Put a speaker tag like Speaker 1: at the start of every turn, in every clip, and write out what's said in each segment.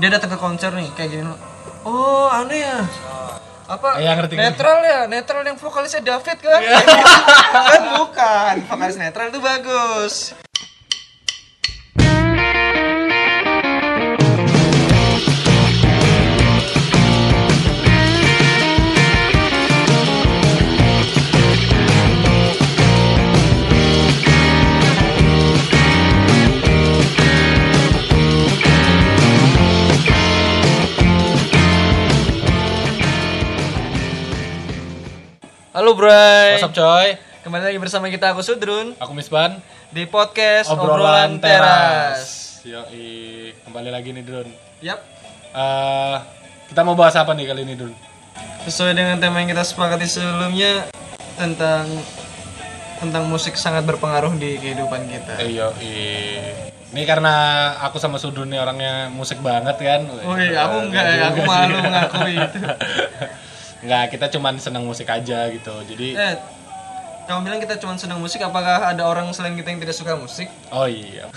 Speaker 1: dia datang ke konser nih kayak gini loh. Oh, aneh ya. Apa?
Speaker 2: Iya, ngerti, Iya. ngerti.
Speaker 1: netral ya, netral yang vokalisnya David kan? kan bukan. Vokalis netral itu bagus. Halo, Bray.
Speaker 2: What's up coy?
Speaker 1: Kembali lagi bersama kita aku Sudrun
Speaker 2: Aku Misban
Speaker 1: di podcast
Speaker 2: Obrolan
Speaker 1: Obrolan, Teras.
Speaker 2: Teras Yoi, kembali lagi nih Dun
Speaker 1: Yap.
Speaker 2: Eh, Kita mau bahas apa nih kali ini Dun?
Speaker 1: Sesuai dengan tema yang kita sepakati sebelumnya tentang tentang musik sangat berpengaruh di kehidupan kita.
Speaker 2: Eh, Yoi Ini karena aku sama Sudun nih orangnya musik banget kan
Speaker 1: Wih, Oh, iya, aku enggak, ya,
Speaker 2: enggak
Speaker 1: aku
Speaker 2: juga
Speaker 1: malu
Speaker 2: sih.
Speaker 1: mengakui itu.
Speaker 2: Enggak, kita cuman seneng musik aja gitu Jadi,
Speaker 1: Eh, kamu bilang kita cuma senang musik, apakah ada orang selain kita yang tidak suka musik?
Speaker 2: oh iya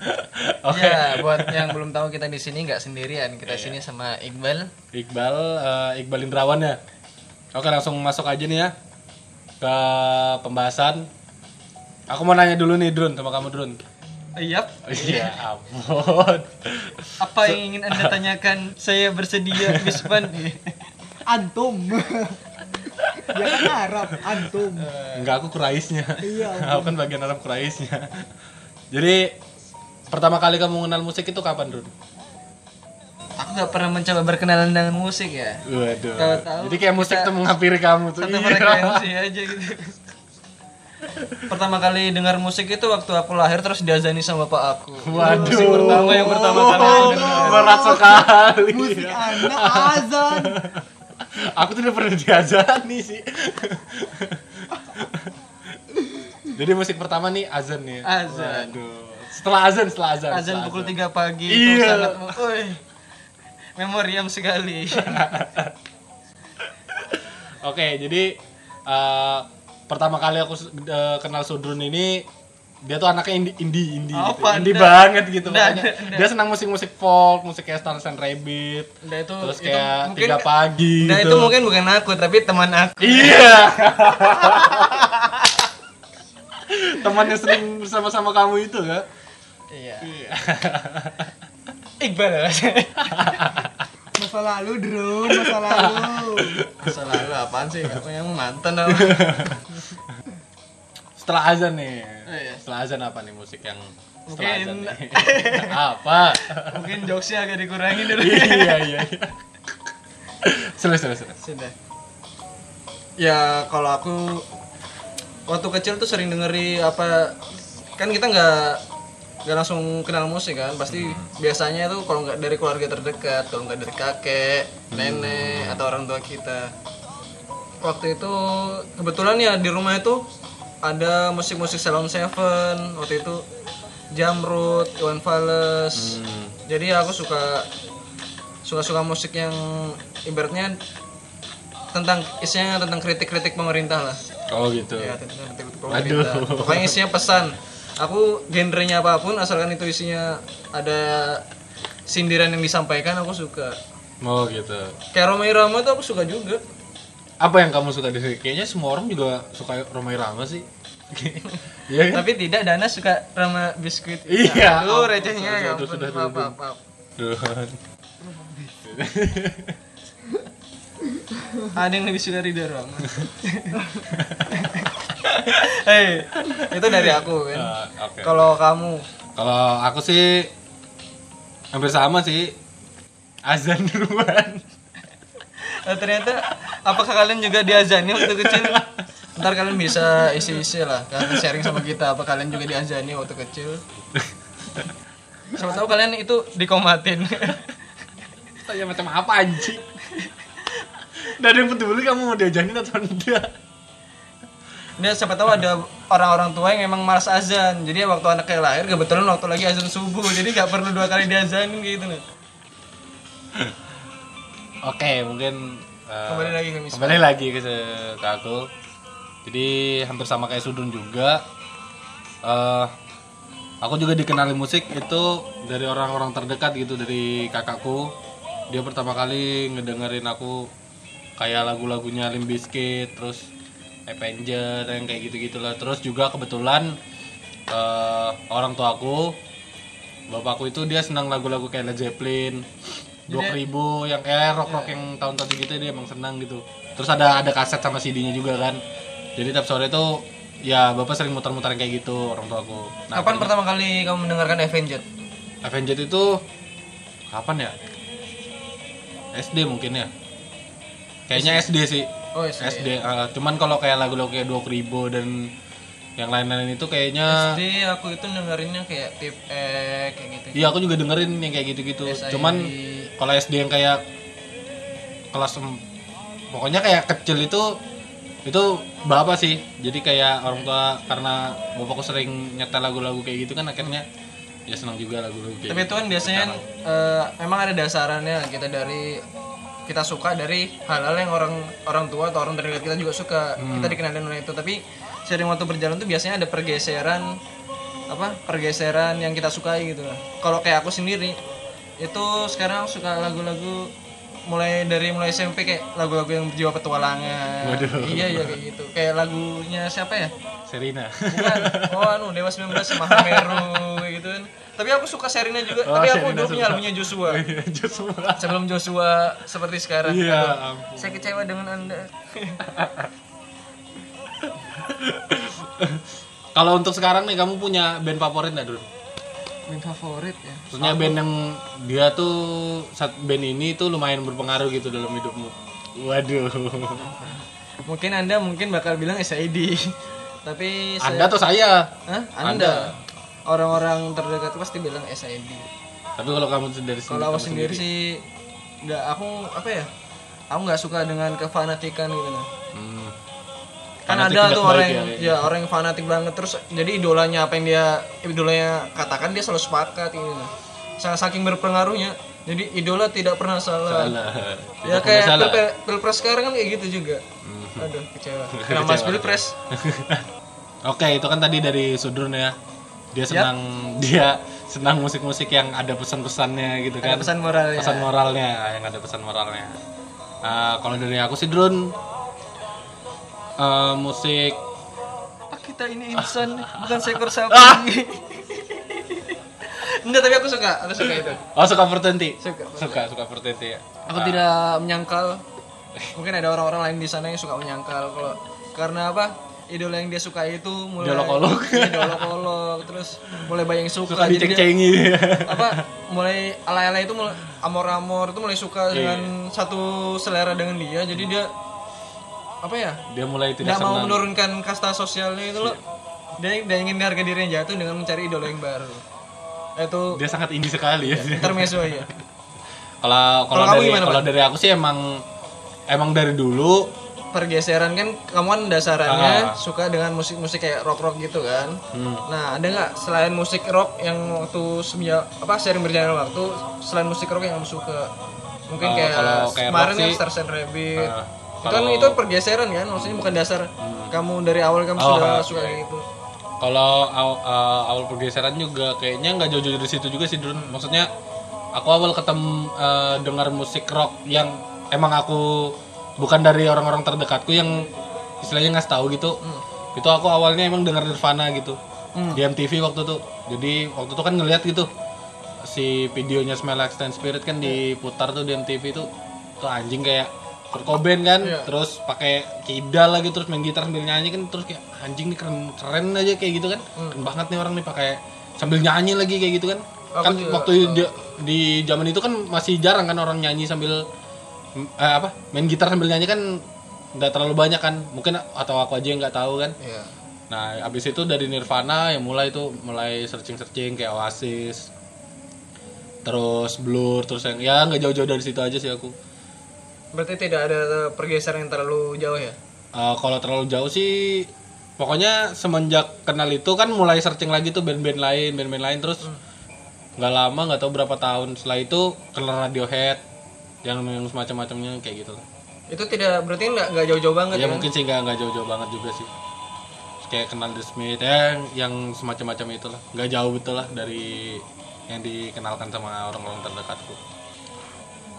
Speaker 2: Oke
Speaker 1: Ya, buat yang belum tahu kita di sini nggak sendirian, kita di sini sama Iqbal.
Speaker 2: Iqbal, eh, Iqbal Indrawan ya. Oke langsung masuk aja nih ya ke pembahasan. Aku mau nanya dulu nih Drun sama kamu Drun.
Speaker 1: Yap.
Speaker 2: Iya ampun.
Speaker 1: Apa yang ingin anda tanyakan? Saya bersedia, Miss Ban.
Speaker 3: antum
Speaker 1: Ya
Speaker 3: dia kan Arab antum
Speaker 2: Enggak aku kuraisnya.
Speaker 3: Iya,
Speaker 2: aku kan bagian Arab kuraisnya. Jadi pertama kali kamu kenal musik itu kapan Drun?
Speaker 1: Aku nggak pernah mencoba berkenalan dengan musik ya.
Speaker 2: Waduh.
Speaker 1: Tahu-tahu
Speaker 2: Jadi kayak musik
Speaker 1: kita-
Speaker 2: tuh menghampiri kamu tuh.
Speaker 1: Satu
Speaker 2: Iya.
Speaker 1: frekuensi aja gitu. Pertama kali dengar musik itu waktu aku lahir terus diazani sama bapak aku.
Speaker 2: Waduh. Oh,
Speaker 1: Musik pertama yang pertama kali aku dengar.
Speaker 2: Berat sekali.
Speaker 3: musik anak azan
Speaker 2: Aku tuh udah pernah diajani sih. Jadi musik pertama nih azan nih.
Speaker 1: Azan.
Speaker 2: Waduh. Setelah azan, setelah azan.
Speaker 1: Azan
Speaker 2: setelah
Speaker 1: pukul
Speaker 2: azan.
Speaker 1: 3 pagi itu
Speaker 2: Iya.
Speaker 1: sangat Woi. Memoriam sekali.
Speaker 2: Oke, jadi eh, pertama kali aku eh, kenal Sudrun ini dia tuh anaknya indie indie indie, gitu.
Speaker 1: Apa?
Speaker 2: indie
Speaker 1: Nggak.
Speaker 2: banget gitu
Speaker 1: Nggak,
Speaker 2: makanya.
Speaker 1: nggak, nggak.
Speaker 2: Dia senang musik-musik folk, musik kayak Stars and Rabbit.
Speaker 1: Nah itu
Speaker 2: Terus
Speaker 1: itu
Speaker 2: kayak
Speaker 1: mungkin
Speaker 2: tiga pagi
Speaker 1: Nah
Speaker 2: gitu.
Speaker 1: itu mungkin bukan aku tapi teman aku.
Speaker 2: Iya. Temannya sering bersama-sama kamu itu kan?
Speaker 1: Iya.
Speaker 2: Iya.
Speaker 1: Iqbal.
Speaker 3: masa lalu drone masa lalu
Speaker 1: Selalu apaan sih? Aku yang mantan apa?
Speaker 2: Setelah azan nih.
Speaker 1: Oh, iya.
Speaker 2: Setelah azan apa nih musik yang setelah
Speaker 1: Mungkin-
Speaker 2: azan nih? apa?
Speaker 1: Mungkin jokesnya agak dikurangin dulu.
Speaker 2: iya iya iya. Seru seru seru.
Speaker 1: Sudah. Ya kalau aku waktu kecil tuh sering dengeri apa kan kita nggak nggak langsung kenal musik kan pasti biasanya tuh kalau nggak dari keluarga terdekat kalau nggak dari kakek nenek atau orang tua kita waktu itu kebetulan ya di rumah itu ada musik-musik Salon Seven waktu itu Jamrud Iwan Fales jadi ya aku suka suka-suka musik yang ibaratnya tentang isinya tentang kritik-kritik pemerintah lah
Speaker 2: Oh gitu.
Speaker 1: ya tentang kritik-kritik pemerintah pokoknya isinya pesan aku genrenya apapun asalkan itu isinya ada sindiran yang disampaikan aku suka
Speaker 2: Oh gitu.
Speaker 1: kayak Romai Rama tuh aku suka juga
Speaker 2: Apa yang kamu suka di sini? Kayaknya semua orang juga suka Romai Rama sih. Iya kan?
Speaker 1: tapi tidak Dana suka Rama biskuit
Speaker 2: Iya.
Speaker 1: lu recehnya ya
Speaker 2: Sudah,
Speaker 1: ampun
Speaker 2: sudah,
Speaker 1: maaf
Speaker 2: sudah.
Speaker 1: maaf maaf.
Speaker 2: Duh.
Speaker 1: ada yang lebih suka Ridho Rama Hei, Eh, itu dari aku kan
Speaker 2: Ah, Oke.
Speaker 1: kalau kamu
Speaker 2: Kalau aku sih hampir sama sih. Azan duluan.
Speaker 1: Nah, ternyata apakah kalian juga diazani waktu kecil? Ntar kalian bisa isi-isi lah, kalian sharing sama kita apa kalian juga diazani waktu kecil. Siapa tahu kalian itu dikomatin.
Speaker 2: Tanya macam apa anjing? Nggak ada yang peduli kamu mau diajarin atau enggak
Speaker 1: Dan siapa tahu ada orang-orang tua yang emang malas azan. Jadi waktu anaknya lahir kebetulan waktu lagi azan subuh, jadi nggak perlu dua kali diazanin gitu loh.
Speaker 2: Oke mungkin eh,
Speaker 1: Kembali lagi ke Miss
Speaker 2: Kembali lagi ke, ke aku Jadi hampir sama kayak Sudun juga Eh, Aku juga dikenali musik itu dari orang-orang terdekat gitu dari kakakku. Dia pertama kali ngedengerin aku kayak lagu-lagunya Limp Bizkit, terus Avenger yang kayak gitu-gitulah. Terus juga kebetulan eh, orang tuaku bapakku itu dia senang lagu-lagu kayak Led Zeppelin, Blok Ribu yang eh rock rock yang tahun-tahun segitu dia emang senang gitu. Terus ada ada kaset sama CD-nya juga kan. Jadi tiap sore itu ya bapak sering muter-muter kayak gitu orang tuaku. Nah,
Speaker 1: Kapan pertama kali kamu mendengarkan Avenger?
Speaker 2: Avenger itu kapan ya? SD mungkin ya. Kayaknya SD sih.
Speaker 1: Oh, SD.
Speaker 2: SD. eh, cuman kalau kayak lagu-lagu kayak Dua Ribu dan yang lain-lain itu kayaknya
Speaker 1: SD aku itu dengerinnya kayak tip eh kayak gitu.
Speaker 2: Iya aku juga dengerin yang kayak gitu-gitu.
Speaker 1: SID.
Speaker 2: Cuman kalau SD yang kayak kelas em- pokoknya kayak kecil itu itu bapak sih. Jadi kayak orang tua karena bapakku sering nyetel lagu-lagu kayak gitu kan akhirnya ya senang juga lagu-lagu kayak gitu.
Speaker 1: Tapi itu kan biasanya eh, memang ada dasarannya kita dari kita suka dari hal-hal yang orang orang tua atau orang terdekat kita juga suka. Kita dikenalin oleh itu. Tapi sering waktu berjalan tuh biasanya ada pergeseran apa? Pergeseran yang kita sukai gitu lah. Kalau kayak aku sendiri itu sekarang suka lagu-lagu mulai dari mulai SMP kayak lagu-lagu yang berjiwa petualangan.
Speaker 2: Waduh.
Speaker 1: Iya iya kayak gitu. Kayak lagunya siapa ya?
Speaker 2: Serina.
Speaker 1: Bukan. Oh anu Dewa 19 Mahameru gitu kan. Tapi aku suka Serina juga.
Speaker 2: Oh,
Speaker 1: Tapi aku
Speaker 2: Sherina
Speaker 1: dulu punya
Speaker 2: suka.
Speaker 1: albumnya Joshua.
Speaker 2: Just semua.
Speaker 1: Sebelum Joshua seperti sekarang.
Speaker 2: Iya,
Speaker 1: Aduh,
Speaker 2: ampun.
Speaker 1: Saya kecewa dengan Anda.
Speaker 2: Kalau untuk sekarang nih kamu punya band favorit nggak dulu?
Speaker 1: Main favorit ya.
Speaker 2: Maksudnya band yang dia tuh saat band ini tuh lumayan berpengaruh gitu dalam hidupmu. Waduh.
Speaker 1: Mungkin Anda mungkin bakal bilang SID. Tapi
Speaker 2: Anda
Speaker 1: saya
Speaker 2: atau saya?
Speaker 1: Hah?
Speaker 2: Anda.
Speaker 1: Anda. Orang-orang terdekat pasti bilang SID.
Speaker 2: Tapi kalau kamu dari sini,
Speaker 1: Kalau
Speaker 2: kamu
Speaker 1: aku sendiri, sih nggak aku apa ya? Aku nggak suka dengan kefanatikan gitu nah.
Speaker 2: Hmm.
Speaker 1: kan
Speaker 2: Fanatik
Speaker 1: ada
Speaker 2: tidak
Speaker 1: tuh
Speaker 2: baik
Speaker 1: orang yang,
Speaker 2: ya,
Speaker 1: ya, orang yang fanatik banget terus jadi idolanya apa yang dia idolanya katakan dia selalu sepakat gitu nah. Sa- saking berpengaruhnya jadi idola tidak pernah salah, ya
Speaker 2: Salah. Tidak
Speaker 1: Iya. kayak
Speaker 2: pernah salah. Hmm.
Speaker 1: pilpre- pilpres sekarang kan kayak gitu juga aduh kecewa karena mas pilpres
Speaker 2: Oke, itu kan tadi dari Sudrun ya. Dia senang dia senang musik-musik yang ada pesan-pesannya gitu
Speaker 1: ada
Speaker 2: kan.
Speaker 1: pesan ya? moralnya
Speaker 2: Pesan moralnya, yang ada pesan moralnya. Eh, kalau dari aku sih Drun eh, musik
Speaker 1: Ah, kita ini insan bukan seekor
Speaker 2: Ah!
Speaker 1: sapi enggak tapi aku suka aku suka itu
Speaker 2: Oh suka Fortenti.
Speaker 1: Suka.
Speaker 2: suka suka Fortenti ya.
Speaker 1: Aku tidak menyangkal mungkin ada orang-orang lain di sana yang suka menyangkal kalau karena apa idola yang dia suka itu mulai
Speaker 2: Diolok-olok.
Speaker 1: Iya, diolok-olok, terus mulai banyak yang suka,
Speaker 2: Suka
Speaker 1: jadi dia-
Speaker 2: diceng-cengi.
Speaker 1: apa mulai ala-ala itu mulai amor-amor itu mulai
Speaker 2: Iya,
Speaker 1: suka dengan satu selera dengan dia jadi dia apa ya
Speaker 2: dia mulai tidak
Speaker 1: nggak mau
Speaker 2: senang. Iya.
Speaker 1: menurunkan kasta sosialnya itu loh dia, dia ingin harga dirinya jatuh dengan mencari idola yang baru itu
Speaker 2: Dia sangat indie sekali ya.
Speaker 1: intermezzo ya
Speaker 2: Kalau kalau
Speaker 1: kamu
Speaker 2: dari
Speaker 1: gimana,
Speaker 2: kalau dari aku sih emang emang dari dulu
Speaker 1: pergeseran kan kamu kan dasarannya
Speaker 2: Ah.
Speaker 1: suka dengan musik-musik kayak rock-rock gitu kan.
Speaker 2: hmm,
Speaker 1: Nah, ada nggak selain musik rock yang waktu semenjak apa sering berjalan waktu selain musik rock yang kamu suka? Mungkin
Speaker 2: Ah,
Speaker 1: kayak,
Speaker 2: kalau kayak
Speaker 1: kemarin
Speaker 2: rock
Speaker 1: kan
Speaker 2: sih-
Speaker 1: Stars and Rabbit.
Speaker 2: Ah, Hmm.
Speaker 1: itu kan itu pergeseran kan, maksudnya bukan dasar kamu dari awal kamu
Speaker 2: Oh,
Speaker 1: sudah
Speaker 2: ah,
Speaker 1: suka kayak gitu.
Speaker 2: kalau aw, eh, awal pergeseran juga kayaknya nggak jauh-jauh dari situ juga sih Drun. Maksudnya aku awal ketemu eh, dengar musik rock yang emang aku bukan dari orang-orang terdekatku yang istilahnya nggak tahu gitu. Itu aku awalnya emang dengar Nirvana gitu di MTV waktu itu. Jadi waktu itu kan ngeliat gitu si videonya Smell Like Teen Spirit kan diputar tuh di MTV tuh tuh anjing kayak Kurt Cobain kan terus pakai kidal lagi terus main gitar sambil nyanyi kan terus kayak anjing nih keren keren aja kayak gitu kan keren banget nih orang nih pakai sambil nyanyi lagi kayak gitu kan kan waktu di- di zaman itu kan masih jarang kan orang nyanyi sambil mm, eh, apa main gitar sambil nyanyi kan nggak terlalu banyak kan mungkin atau aku aja yang nggak tahu kan
Speaker 1: Iya.
Speaker 2: Nah, abis itu dari Nirvana yang mulai itu mulai searching-searching kayak Oasis. Terus Blur, terus yang ya nggak jauh-jauh dari situ aja sih aku.
Speaker 1: Berarti tidak ada pergeseran yang terlalu jauh ya?
Speaker 2: Eh, kalau terlalu jauh sih pokoknya semenjak kenal itu kan mulai searching lagi tuh band-band lain, band-band lain terus nggak lama nggak tahu berapa tahun setelah itu kenal Radiohead yang yang semacam-macamnya kayak gitu.
Speaker 1: Itu tidak berarti nggak nggak jauh-jauh banget
Speaker 2: Ya
Speaker 1: ya?
Speaker 2: mungkin sih nggak nggak jauh-jauh banget juga sih. kayak kenal The Smith ya yang semacam-macam itulah nggak jauh betul lah dari yang dikenalkan sama orang-orang terdekatku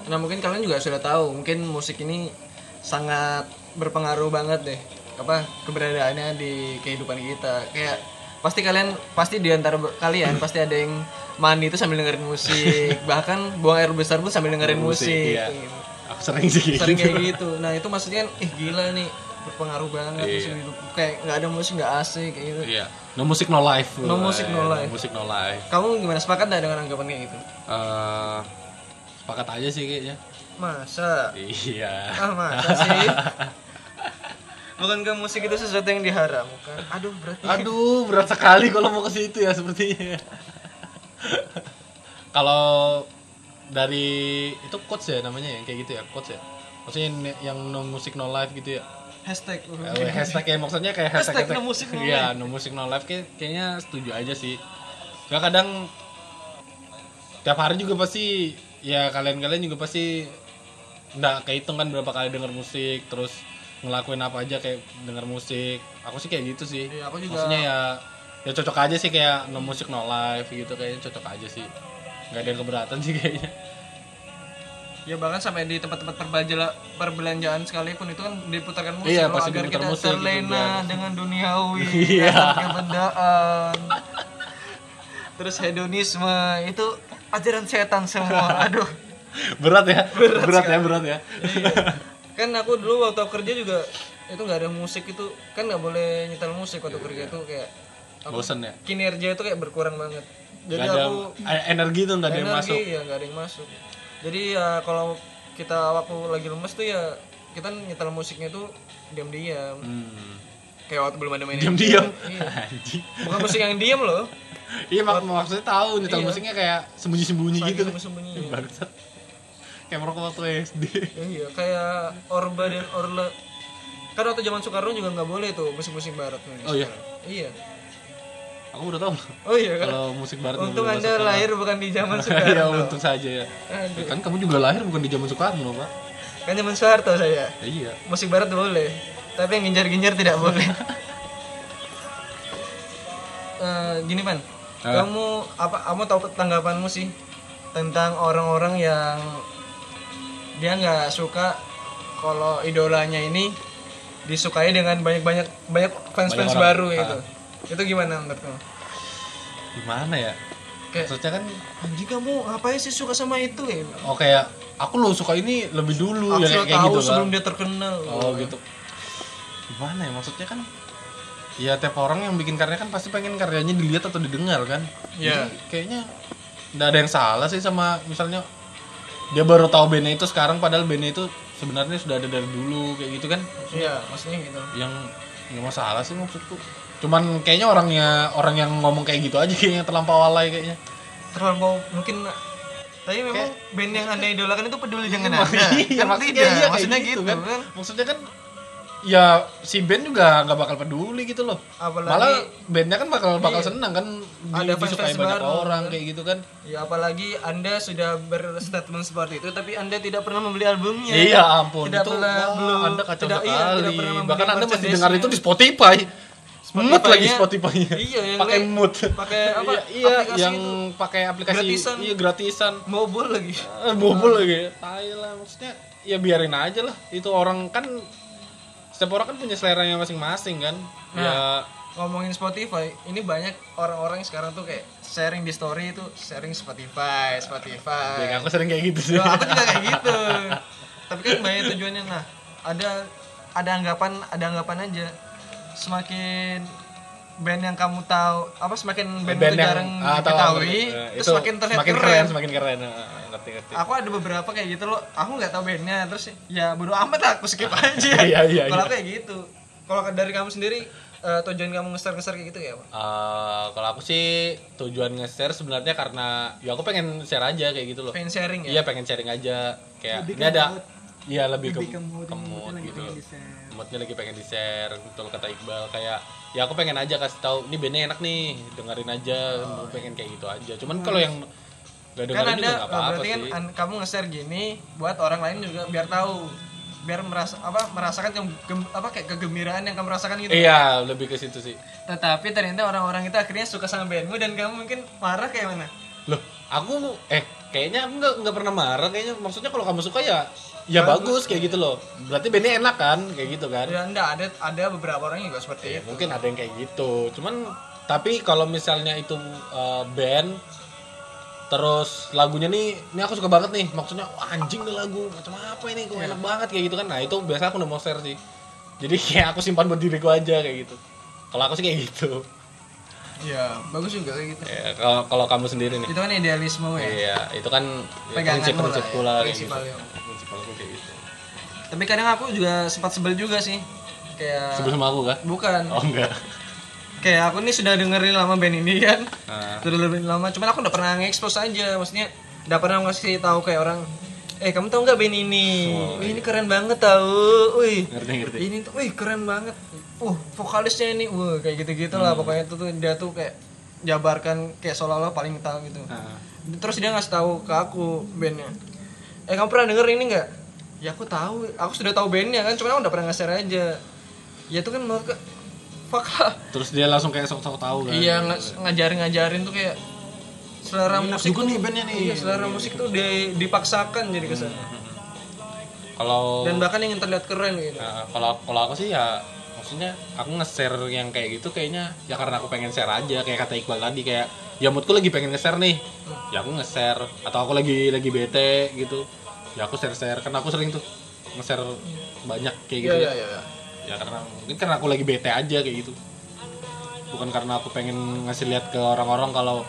Speaker 1: Nah mungkin kalian juga sudah tahu, mungkin musik ini sangat berpengaruh banget deh apa keberadaannya di kehidupan kita. Kayak pasti kalian pasti di antara ber- kalian pasti ada yang mandi itu sambil dengerin musik, bahkan buang air besar pun sambil dengerin musik.
Speaker 2: iya.
Speaker 1: gitu.
Speaker 2: aku sering sih kayak
Speaker 1: Sering
Speaker 2: gitu.
Speaker 1: kayak gitu. Nah itu maksudnya ih gila nih berpengaruh banget
Speaker 2: Iya.
Speaker 1: musik hidup. Kayak nggak ada musik nggak asik kayak gitu.
Speaker 2: iya no music no life Iya,
Speaker 1: No music, no life.
Speaker 2: no music no life
Speaker 1: Kamu gimana sepakat nggak dengan anggapan kayak gitu?
Speaker 2: Eh, sepakat aja sih kayaknya
Speaker 1: Masa?
Speaker 2: iya
Speaker 1: Ah masa sih? Bukankah musik itu sesuatu yang diharamkan? Aduh berarti
Speaker 2: Aduh, berat sekali kalau mau ke situ ya sepertinya. kalau dari itu coach ya namanya ya, kayak gitu ya, coach ya. Maksudnya yang- yang no music no life gitu ya.
Speaker 1: hashtag
Speaker 2: Eh, hashtag ya maksudnya kayak hashtag,
Speaker 1: Hashtag no music, no
Speaker 2: Iya, no music no life kayak- kayaknya setuju aja sih. Soalnya kadang tiap hari juga pasti ya kalian-kalian juga pasti nggak kehitung kan berapa kali denger musik terus ngelakuin apa aja kayak denger musik aku sih kayak gitu sih
Speaker 1: Iya, aku juga.
Speaker 2: maksudnya ya ya cocok aja sih kayak no music no life gitu kayaknya cocok aja sih nggak ada yang keberatan sih kayaknya
Speaker 1: ya bahkan sampai di tempat-tempat perbajala- perbelanjaan sekalipun itu kan diputarkan musik
Speaker 2: Iya,
Speaker 1: loh,
Speaker 2: pasti
Speaker 1: agar
Speaker 2: diputar
Speaker 1: kita
Speaker 2: musik gitu,
Speaker 1: terlena
Speaker 2: biar-
Speaker 1: dengan duniawi
Speaker 2: Iya.
Speaker 1: akan kebendaan terus hedonisme itu ajaran setan semua aduh
Speaker 2: berat ya berat, ya berat ya
Speaker 1: kan aku dulu waktu aku kerja juga itu nggak ada musik itu kan nggak boleh nyetel musik
Speaker 2: Iya,
Speaker 1: waktu kerja tuh kayak
Speaker 2: bosen ya
Speaker 1: kinerja itu kayak berkurang banget iya. jadi
Speaker 2: Nggak ada
Speaker 1: aku
Speaker 2: eh, energi tuh nggak ada yang
Speaker 1: energi
Speaker 2: masuk
Speaker 1: ya nggak ada yang masuk jadi ya kalau kita waktu lagi lemes tuh ya kita nyetel musiknya tuh diam-diam
Speaker 2: hmm.
Speaker 1: kayak waktu belum ada main
Speaker 2: diam diam
Speaker 1: Iya. bukan musik yang diam loh
Speaker 2: iya mak maksudnya
Speaker 1: Iya.
Speaker 2: tahu nyetel musiknya kayak sembunyi sembunyi gitu
Speaker 1: sembunyi
Speaker 2: bangsat kayak merokok waktu SD
Speaker 1: iya kayak orba dan orla kan waktu zaman Soekarno juga nggak boleh tuh musik-musik barat Indonesia.
Speaker 2: Oh iya?
Speaker 1: iya
Speaker 2: aku udah tahu loh.
Speaker 1: oh iya kan
Speaker 2: kalau musik barat nggak
Speaker 1: untung
Speaker 2: boleh
Speaker 1: anda
Speaker 2: masuk kan.
Speaker 1: lahir bukan di zaman
Speaker 2: kamar. ya
Speaker 1: Soekarno
Speaker 2: untung saja ya
Speaker 1: Aduh.
Speaker 2: kan kamu juga lahir bukan di zaman Soekarno pak
Speaker 1: kan zaman Soeharto saya
Speaker 2: ya, iya
Speaker 1: musik barat boleh tapi yang genjar-genjar tidak boleh Eh, gini pan
Speaker 2: Ah.
Speaker 1: kamu apa kamu tahu tanggapanmu sih tentang orang-orang yang dia nggak suka kalau idolanya ini disukai dengan banyak-banyak banyak fans fans
Speaker 2: Banyak orang.
Speaker 1: baru
Speaker 2: Ah.
Speaker 1: itu itu gimana menurut kamu
Speaker 2: gimana ya
Speaker 1: kayak
Speaker 2: maksudnya kan
Speaker 1: anjing kamu ngapain sih suka sama itu ya
Speaker 2: oh kayak aku lo suka ini lebih
Speaker 1: aku
Speaker 2: dulu ya
Speaker 1: sudah
Speaker 2: kayak- kayak
Speaker 1: tahu
Speaker 2: gitu
Speaker 1: sebelum
Speaker 2: kan
Speaker 1: dia terkenal
Speaker 2: oh gitu gimana ya maksudnya kan ya tiap orang yang bikin karya kan pasti pengen karyanya dilihat atau didengar kan
Speaker 1: Iya.
Speaker 2: Jadi kayaknya nggak ada yang salah sih sama misalnya dia baru tahu bandnya itu sekarang padahal bandnya itu sebenarnya sudah ada dari dulu kayak gitu kan
Speaker 1: iya maksudnya gitu
Speaker 2: yang nggak masalah sih maksudku cuman kayaknya orangnya orang yang ngomong kayak gitu aja kayaknya terlampau alay kayaknya
Speaker 1: terlalu mungkin tapi memang band yang anda idolakan itu peduli dengan anda
Speaker 2: Iya,
Speaker 1: Kan
Speaker 2: maksudnya
Speaker 1: tidak,
Speaker 2: iya, kayak
Speaker 1: maksudnya
Speaker 2: gitu
Speaker 1: gitu,
Speaker 2: kan.
Speaker 1: kan
Speaker 2: maksudnya kan ya si band juga nggak bakal peduli gitu loh
Speaker 1: Apalagi-
Speaker 2: malah bandnya kan bakal bakal senang kan di,
Speaker 1: Ada fans-fans
Speaker 2: disukai banyak
Speaker 1: baru,
Speaker 2: orang kayak gitu kan
Speaker 1: ya apalagi anda sudah berstatement seperti itu tapi anda tidak pernah membeli albumnya
Speaker 2: iya ampun
Speaker 1: tidak
Speaker 2: itu
Speaker 1: pernah
Speaker 2: wah,
Speaker 1: belum
Speaker 2: anda kacau
Speaker 1: tidak, iya,
Speaker 2: sekali
Speaker 1: tidak pernah membeli
Speaker 2: bahkan anda masih
Speaker 1: merchandise-nya.
Speaker 2: dengar itu di Spotify mood lagi
Speaker 1: Spotify-nya-
Speaker 2: Spotify
Speaker 1: iya, yang
Speaker 2: pakai
Speaker 1: kayak-
Speaker 2: mood
Speaker 1: pakai apa
Speaker 2: iya, iya
Speaker 1: aplikasi
Speaker 2: yang
Speaker 1: itu
Speaker 2: pakai aplikasi
Speaker 1: Gratisan.
Speaker 2: iya gratisan
Speaker 1: mobile lagi
Speaker 2: Eh, bobol lagi ya. Tai lah maksudnya ya biarin aja lah. Itu orang kan setiap orang kan punya seleranya masing-masing kan. Ya
Speaker 1: Nah. ngomongin Spotify ini banyak orang-orang yang sekarang tuh kayak sharing di story itu sharing Spotify Spotify
Speaker 2: ya, aku sering kayak gitu sih.
Speaker 1: Loh, aku juga kayak gitu. Tapi kan banyak tujuannya. Nah, ada ada anggapan, ada anggapan aja. Semakin band yang kamu tahu, apa semakin band, itu jarang
Speaker 2: ah, tahu,
Speaker 1: diketahui,
Speaker 2: eh,
Speaker 1: terus
Speaker 2: itu
Speaker 1: semakin terlihat
Speaker 2: semakin
Speaker 1: keren.
Speaker 2: keren, semakin keren. Ah, ngerti ngerti.
Speaker 1: Aku ada beberapa kayak gitu loh. Aku nggak tahu bandnya, terus ya bodo amat lah, aku skip aja.
Speaker 2: Iya, iya,
Speaker 1: Kalau
Speaker 2: iya.
Speaker 1: aku kayak gitu. Kalau dari kamu sendiri, eh, tujuan kamu ngeser-ngeser kayak gitu ya, Pak?
Speaker 2: Eh, kalau aku sih tujuan nge-share sebenarnya karena ya aku pengen share aja kayak gitu loh.
Speaker 1: Pengen sharing ya?
Speaker 2: Iya pengen sharing aja kayak
Speaker 3: Lebih
Speaker 2: ini
Speaker 3: ke
Speaker 2: ada
Speaker 3: mood.
Speaker 2: iya lebih,
Speaker 3: Lebih
Speaker 2: ke,
Speaker 3: ke mood,
Speaker 2: ke
Speaker 3: moodnya
Speaker 2: mood
Speaker 3: lagi
Speaker 2: gitu
Speaker 3: pengen
Speaker 2: loh.
Speaker 3: di-share.
Speaker 2: moodnya lagi pengen di share betul kata Iqbal kayak ya aku pengen aja kasih tahu ini bandnya enak nih dengerin aja
Speaker 3: Oh,
Speaker 2: aku
Speaker 3: iya.
Speaker 2: pengen kayak gitu aja cuman kalau yang gak
Speaker 1: kan
Speaker 2: dengerin juga
Speaker 1: ada
Speaker 2: nggak apa-apa
Speaker 1: berarti
Speaker 2: sih
Speaker 1: kan an- kamu nge-share gini buat orang lain juga biar tahu biar merasa apa merasakan yang gem- apa kayak kegembiraan yang kamu rasakan gitu.
Speaker 3: ya.
Speaker 2: Iya, lebih ke situ sih.
Speaker 1: Tetapi ternyata orang-orang itu akhirnya suka sama bandmu dan kamu mungkin marah kayak mana?
Speaker 2: Loh, aku eh kayaknya aku nggak nggak pernah marah kayaknya. Maksudnya kalau kamu suka ya ya bagus, kayak gitu loh. Berarti bandnya enak kan, kayak gitu kan. Ya,
Speaker 1: Ya enggak, ada ada beberapa orang yang juga seperti itu.
Speaker 2: Mungkin ada yang kayak gitu. Cuman tapi kalau misalnya itu eh, band terus lagunya nih ini aku suka banget nih maksudnya wah, anjing nih lagu macam apa ini kok enak banget kayak gitu kan nah itu biasa aku udah mau share sih jadi kayak aku simpan buat diriku aja kayak gitu kalau aku sih kayak gitu
Speaker 1: Ya, bagus juga kayak gitu.
Speaker 2: ya kalau kalau kamu sendiri nih
Speaker 1: Itu kan idealisme ya.
Speaker 2: Iya, itu kan
Speaker 1: Pegangan
Speaker 2: prinsip prinsipku
Speaker 1: mula
Speaker 2: lah
Speaker 1: ya,
Speaker 2: kayak gitu.
Speaker 1: prinsipalnya.
Speaker 2: Prinsipal aku kayak gitu.
Speaker 1: Tapi kadang aku juga sempat sebel juga sih. Kayak
Speaker 2: Sebelum sama aku kah?
Speaker 1: bukan.
Speaker 2: Oh enggak.
Speaker 1: Kayak aku nih sudah dengerin lama band ini kan.
Speaker 2: Nah,
Speaker 1: Sudah lebih lama, cuman aku udah pernah nge-expose aja. Maksudnya udah pernah ngasih tahu kayak orang Eh kamu tau nggak band ini?
Speaker 2: Oh,
Speaker 1: Wih, ini keren banget tau. Wih,
Speaker 2: ngerti ngerti.
Speaker 1: ini tuh, wih keren banget. Uh, vokalisnya ini, wah kayak gitu-gitu lah.
Speaker 2: Hmm.
Speaker 1: Pokoknya tuh, tuh dia tuh kayak jabarkan kayak seolah-olah paling tahu gitu.
Speaker 2: Nah,
Speaker 1: Terus dia ngasih tahu ke aku bandnya. Eh kamu pernah denger ini nggak? Ya aku tahu, aku sudah tahu bandnya kan, cuman aku udah pernah nge-share aja. Ya itu kan menurut fuck lah.
Speaker 2: terus dia langsung kayak sok-sok tahu kan.
Speaker 1: Iya nge- ngajarin-ngajarin tuh kayak selera
Speaker 2: Enak
Speaker 1: musik
Speaker 2: juga
Speaker 1: tuh-
Speaker 2: nih bandnya nih.
Speaker 1: Iya, selera musik tuh di- dipaksakan jadi kesana.
Speaker 2: Kalau
Speaker 1: Dan bahkan ingin terlihat keren gitu.
Speaker 2: Oh. nah, kalau kalau aku sih ya maksudnya aku nge-share yang kayak gitu kayaknya ya karena aku pengen share aja kayak kata Iqbal tadi kayak ya moodku lagi pengen nge-share nih
Speaker 1: Hmm.
Speaker 2: ya aku nge-share atau aku lagi lagi bete gitu ya aku share-share karena aku sering tuh nge-share banyak kayak gitu ya.
Speaker 1: Iya, iya, iya.
Speaker 2: ya karena mungkin karena aku lagi bete aja kayak gitu bukan karena aku pengen ngasih lihat ke orang-orang kalau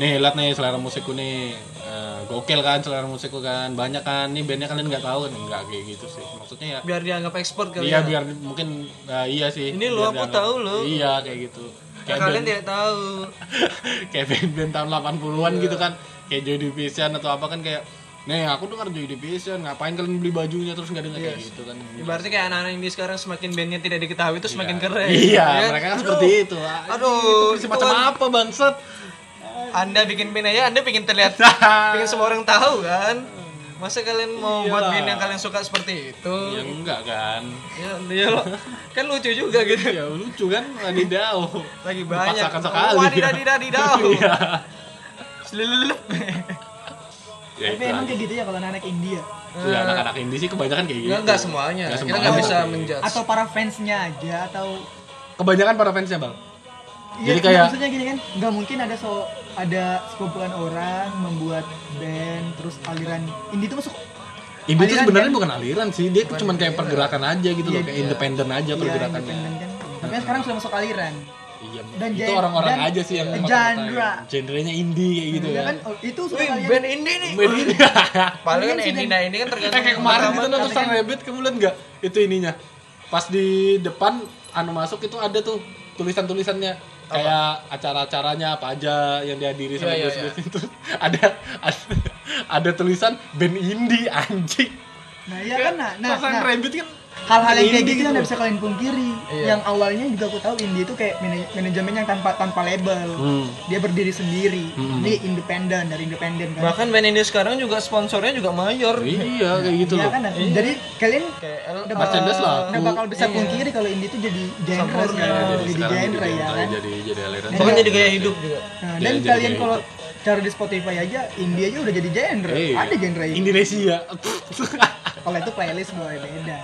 Speaker 2: nih lihat nih selera musikku nih Eh, gokil kan selera musikku kan banyak kan nih bandnya kalian nggak tahu kan nggak kayak gitu sih maksudnya ya
Speaker 1: Biar dianggap ekspor kali
Speaker 2: iya
Speaker 1: ya.
Speaker 2: biar mungkin eh, iya sih
Speaker 1: Ini lo,
Speaker 2: Biar
Speaker 1: aku
Speaker 2: dianggap-
Speaker 1: tahu lo.
Speaker 2: iya kayak gitu
Speaker 1: Nah,
Speaker 2: kayak
Speaker 1: kalian
Speaker 2: band,
Speaker 1: tidak tahu.
Speaker 2: kayak band-band tahun 80-an
Speaker 1: Iya.
Speaker 2: gitu kan kayak Joy Division atau apa kan kayak nih aku dengar Joy Division ngapain kalian beli bajunya terus nggak dengar
Speaker 1: Iya.
Speaker 2: kayak gitu kan
Speaker 1: Ibaratnya kayak anak-anak ini sekarang semakin bandnya tidak diketahui itu semakin keren.
Speaker 2: Iya,
Speaker 1: Ya kan?
Speaker 2: mereka kan seperti itu.
Speaker 1: Aduh, itu
Speaker 2: itu macam
Speaker 1: kan-
Speaker 2: apa bangsat?
Speaker 1: Anda bikin band aja, Anda bikin terlihat,
Speaker 2: Nah.
Speaker 1: bikin semua orang tahu kan.
Speaker 2: Hmm.
Speaker 1: Masa kalian mau
Speaker 2: Iyalah.
Speaker 1: buat band yang kalian suka seperti itu?
Speaker 2: ya enggak kan.
Speaker 1: Ya, ya lo. Kan lucu juga gitu.
Speaker 2: Ya lucu kan wadidaw.
Speaker 1: Lagi banyak.
Speaker 2: Dipaksakan sekali.
Speaker 1: Wadidadidadidau.
Speaker 2: Iya.
Speaker 1: Selilup.
Speaker 2: Ya
Speaker 3: Tapi
Speaker 2: itu
Speaker 3: emang
Speaker 2: aja.
Speaker 3: kayak gitu ya kalau anak-anak India
Speaker 2: Ya, anak-anak indie sih kebanyakan kayak gitu.
Speaker 1: Enggak, enggak semuanya.
Speaker 2: Nggak
Speaker 1: Kita nggak
Speaker 2: semuanya.
Speaker 1: bisa menjudge.
Speaker 3: atau para fansnya aja atau
Speaker 2: Kebanyakan para fansnya bang. Jadi
Speaker 3: Iya,
Speaker 2: kayak-
Speaker 3: maksudnya gini kan nggak mungkin ada so ada sekumpulan orang membuat band terus aliran indie itu masuk
Speaker 2: Indie itu
Speaker 3: Aliran,
Speaker 2: sebenarnya
Speaker 3: kan?
Speaker 2: bukan aliran sih, dia cuma kayak pergerakan aja gitu loh,
Speaker 3: Iya,
Speaker 2: kayak independen aja
Speaker 3: ya
Speaker 2: pergerakannya. Hmm.
Speaker 3: independen kan tapi kan sekarang sudah masuk aliran
Speaker 2: Iya,
Speaker 3: Dan
Speaker 2: itu
Speaker 3: gen-
Speaker 2: orang-orang
Speaker 3: dan
Speaker 2: aja sih yang
Speaker 3: genre.
Speaker 2: makanya- genrenya indie kayak gitu Iya.
Speaker 3: ya
Speaker 2: ya.
Speaker 3: kan oh, itu sudah
Speaker 1: Wih,
Speaker 3: aliran
Speaker 1: band indie nih.
Speaker 2: Band ini.
Speaker 1: Paling kan
Speaker 3: Mendingan sih
Speaker 1: indie
Speaker 3: band-
Speaker 1: nah ini kan tergantung
Speaker 2: Eh kayak kemarin
Speaker 1: pertama.
Speaker 2: kita nonton Sang Rabbit, kamu lihat nggak itu ininya? Pas di depan anu masuk itu ada tuh tulisan-tulisannya kayak acara-acaranya apa aja yang dihadiri sama
Speaker 1: Iya, iya,
Speaker 2: guys-guys itu ada, ada ada tulisan band indie anjing.
Speaker 3: nah iya kan nah nah,
Speaker 2: Pas Sang
Speaker 3: nah,
Speaker 2: Rabbit kan
Speaker 3: hal-hal yang kayak
Speaker 2: indie
Speaker 3: gitu yang nggak
Speaker 2: loh.
Speaker 3: bisa kalian pungkiri
Speaker 1: Iya.
Speaker 3: yang awalnya juga aku tahu indie itu kayak manaj- manajemen yang tanpa tanpa label
Speaker 2: Hmm.
Speaker 3: dia berdiri sendiri
Speaker 2: Hmm.
Speaker 3: dia independen dari independen kan
Speaker 1: Bahkan band indie sekarang juga sponsornya juga mayor.
Speaker 2: Iya kayak gitu
Speaker 3: Iya
Speaker 2: loh.
Speaker 3: kan nah, jadi kalian
Speaker 1: Kayak L-
Speaker 3: Udah
Speaker 1: eh,
Speaker 2: Merchandise lah.
Speaker 3: nggak bakal bisa
Speaker 1: Iya.
Speaker 3: pungkiri kalau indie itu jadi genre
Speaker 1: Sama
Speaker 3: sekarang
Speaker 1: kayak
Speaker 3: jadi
Speaker 2: ya, Iya, sekarang gitu
Speaker 3: genre ya
Speaker 2: genre,
Speaker 3: kan
Speaker 2: jadi jadi aliran.
Speaker 1: Bahkan jadi gaya hidup juga.
Speaker 3: Nah,
Speaker 2: Jadi- gitu.
Speaker 3: dan
Speaker 2: jadi
Speaker 3: kalian
Speaker 2: kayak
Speaker 3: kalau cari di Spotify aja indie aja udah jadi genre
Speaker 2: Iya.
Speaker 3: ada genre ini
Speaker 2: Indonesia.
Speaker 3: kalau itu playlist boleh beda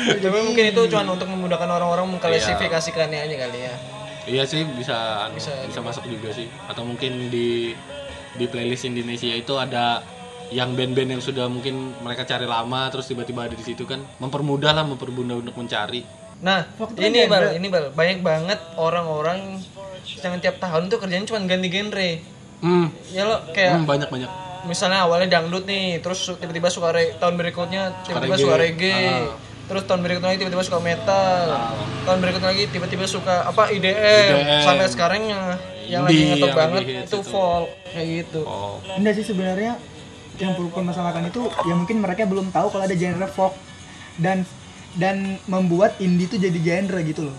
Speaker 1: Tapi mungkin itu cuma untuk memudahkan orang-orang mengklasifikasikannya aja kali ya.
Speaker 2: Iya sih bisa anu, bisa,
Speaker 1: Bisa iya.
Speaker 2: masuk juga sih. Atau mungkin di di playlist Indonesia itu ada yang band-band yang sudah mungkin mereka cari lama terus tiba-tiba ada di situ kan mempermudah lah mempermudah untuk mencari.
Speaker 1: Nah,
Speaker 3: Faktor
Speaker 1: ini
Speaker 3: genre.
Speaker 1: bal, ini bal, banyak banget orang-orang yang tiap tahun tuh kerjanya cuma ganti genre.
Speaker 2: Hmm,
Speaker 1: Ya lo kayak
Speaker 2: banyak-banyak.
Speaker 1: misalnya awalnya dangdut nih, terus su- tiba-tiba suka re- tahun berikutnya tiba-tiba
Speaker 2: reggae.
Speaker 1: suka reggae. Ah.
Speaker 2: Ah.
Speaker 1: Terus tahun berikutnya lagi tiba-tiba suka metal. Tahun berikutnya lagi tiba-tiba suka apa IDM,
Speaker 2: IDM.
Speaker 1: sampai sekarang yang yang lagi
Speaker 2: Indie,
Speaker 1: ngetop
Speaker 2: yang
Speaker 1: banget
Speaker 2: lagi hits
Speaker 1: itu
Speaker 2: itu.
Speaker 1: folk kayak gitu.
Speaker 2: Oh.
Speaker 3: enggak sih sebenarnya yang perlu permasalahkan itu ya mungkin mereka belum tahu kalau ada genre folk dan dan membuat indie itu jadi genre gitu loh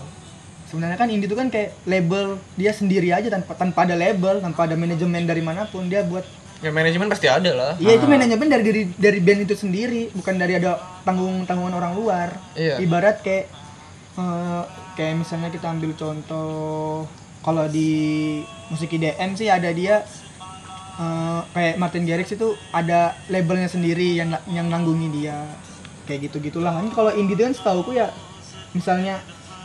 Speaker 3: sebenarnya kan indie itu kan kayak label dia sendiri aja tanpa tanpa ada label tanpa ada manajemen dari manapun dia buat
Speaker 1: ya manajemen pasti ada lah
Speaker 3: Iya itu manajemen dari diri dari band itu sendiri, bukan dari ada tanggung tanggungan orang luar.
Speaker 1: Iya.
Speaker 3: Ibarat kayak eh, kayak misalnya kita ambil contoh kalau di musik IDM sih ada dia eh, kayak Martin Garrix itu ada labelnya sendiri yang na- yang nanggungin dia kayak gitu gitulah. Kan kalau indie itu kan setauku ya misalnya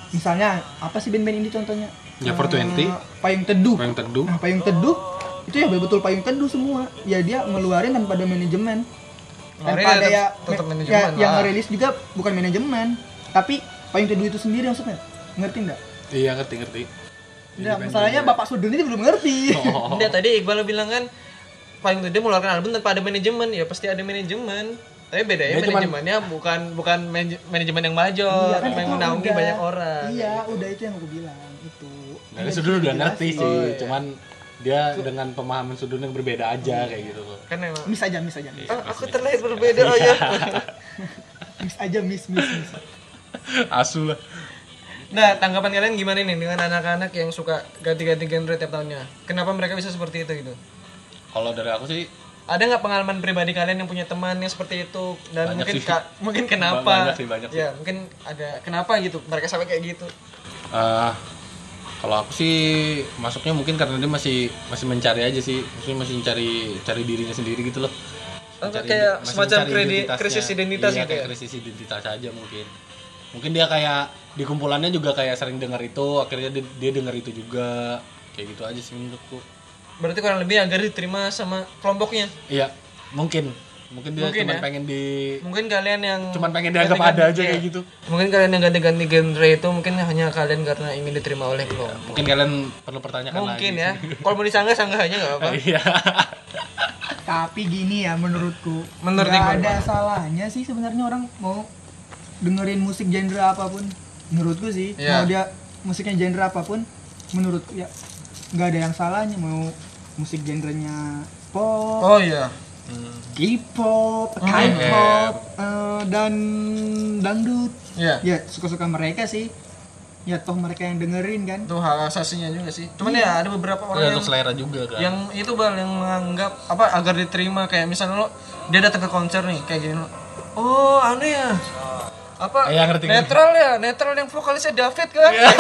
Speaker 3: misalnya apa sih band-band indie contohnya?
Speaker 2: Ya, 420.
Speaker 3: Eh, Payung Teduh.
Speaker 2: Payung Teduh.
Speaker 3: Nah, payung teduh itu ya betul payung teduh semua. Ya dia ngeluarin tanpa ada manajemen.
Speaker 1: Ngeluarin
Speaker 3: Tanpa ada
Speaker 1: ya
Speaker 3: ya,
Speaker 1: tetep- tetep
Speaker 3: me-
Speaker 1: manajemen
Speaker 3: ya, yang
Speaker 1: lah.
Speaker 3: ngerilis juga bukan manajemen, tapi payung teduh itu sendiri maksudnya. Ngerti enggak?
Speaker 2: Iya ngerti ngerti.
Speaker 3: Nah, masalahnya
Speaker 1: ya.
Speaker 3: Bapak Sudun ini belum ngerti.
Speaker 2: Oh.
Speaker 1: Enggak, tadi Iqbal bilang kan paling tidak mengeluarkan album tanpa ada manajemen ya pasti ada manajemen tapi bedanya
Speaker 2: Dia cuman-
Speaker 1: manajemennya bukan bukan manaj- manajemen yang major
Speaker 3: Iya, kan
Speaker 1: yang
Speaker 3: itu
Speaker 1: menaungi
Speaker 3: udah.
Speaker 1: banyak orang
Speaker 3: Iya, udah itu yang aku bilang, itu.
Speaker 2: Nah,
Speaker 3: Ada
Speaker 2: Sudun udah
Speaker 3: dijelasin.
Speaker 2: ngerti sih,
Speaker 1: Oh, iya.
Speaker 2: cuman dia dengan pemahaman Sudun yang berbeda aja kayak gitu loh.
Speaker 1: kan memang
Speaker 3: Miss aja, miss aja.
Speaker 1: "Ah, aku terlihat berbeda oh ya
Speaker 3: Miss aja, miss, miss, miss.
Speaker 2: Asu lah.
Speaker 1: nah tanggapan kalian gimana nih dengan anak-anak yang suka ganti-ganti genre tiap tahunnya kenapa mereka bisa seperti itu gitu
Speaker 2: Kalau dari aku sih
Speaker 1: ada nggak pengalaman pribadi kalian yang punya teman yang seperti itu dan
Speaker 2: Banyak
Speaker 1: mungkin
Speaker 2: sih.
Speaker 1: ka- mungkin kenapa
Speaker 2: Banyak sih, banyak sih.
Speaker 1: ya mungkin ada kenapa gitu mereka sampai kayak gitu
Speaker 2: eh, kalau aku sih masuknya mungkin karena dia masih masih mencari aja sih, maksudnya masih mencari cari dirinya sendiri gitu loh.
Speaker 1: Apa
Speaker 2: Mencari
Speaker 1: Oh, kayak
Speaker 2: ide- masih
Speaker 1: semacam
Speaker 2: mencari
Speaker 1: kredi-
Speaker 2: identitasnya.
Speaker 1: krisis identitas
Speaker 2: Iya,
Speaker 1: gitu
Speaker 2: kayak
Speaker 1: ya?
Speaker 2: krisis identitas aja mungkin. Mungkin dia kayak di kumpulannya juga kayak sering dengar itu, akhirnya dia, dia dengar itu juga. Kayak gitu aja sih menurutku.
Speaker 1: berarti kurang lebih agar diterima sama kelompoknya
Speaker 2: Iya, mungkin. Mungkin dia
Speaker 1: Mungkin
Speaker 2: cuma
Speaker 1: ya.
Speaker 2: pengen di
Speaker 1: mungkin kalian yang
Speaker 2: cuman pengen dianggap ada aja kayak
Speaker 1: iya.
Speaker 2: gitu.
Speaker 1: mungkin kalian yang ganti-ganti genre itu mungkin hanya kalian karena ingin diterima oleh kelompok
Speaker 2: Mungkin kalian perlu pertanyakan
Speaker 1: mungkin
Speaker 2: lagi.
Speaker 1: ya kalau mau disanggah sanggah aja nggak apa-apa
Speaker 2: Iya.
Speaker 3: Tapi gini ya menurutku,
Speaker 1: Menurut
Speaker 3: nggak
Speaker 1: Iqbal
Speaker 3: ada salahnya sih sebenarnya orang mau dengerin musik genre apapun. Menurutku sih,
Speaker 1: Iya.
Speaker 3: mau dia musiknya genre apapun, menurutku ya nggak ada yang salahnya mau musik genrenya pop,
Speaker 1: oh iya
Speaker 3: K-pop, K-pop, eh, dan dangdut.
Speaker 1: iya
Speaker 3: Ya suka-suka mereka sih. Ya toh mereka yang dengerin kan.
Speaker 1: itu hak asasinya juga sih cuman ya ada beberapa orang yang
Speaker 2: Tergantung selera juga kan.
Speaker 1: yang itu bal yang menganggap apa agar diterima kayak misalnya lo dia datang ke konser nih kayak gini lo oh aneh ya apa
Speaker 2: Iya, ngerti, ngerti.
Speaker 1: netral ya netral yang vokalisnya David kan
Speaker 2: Iya.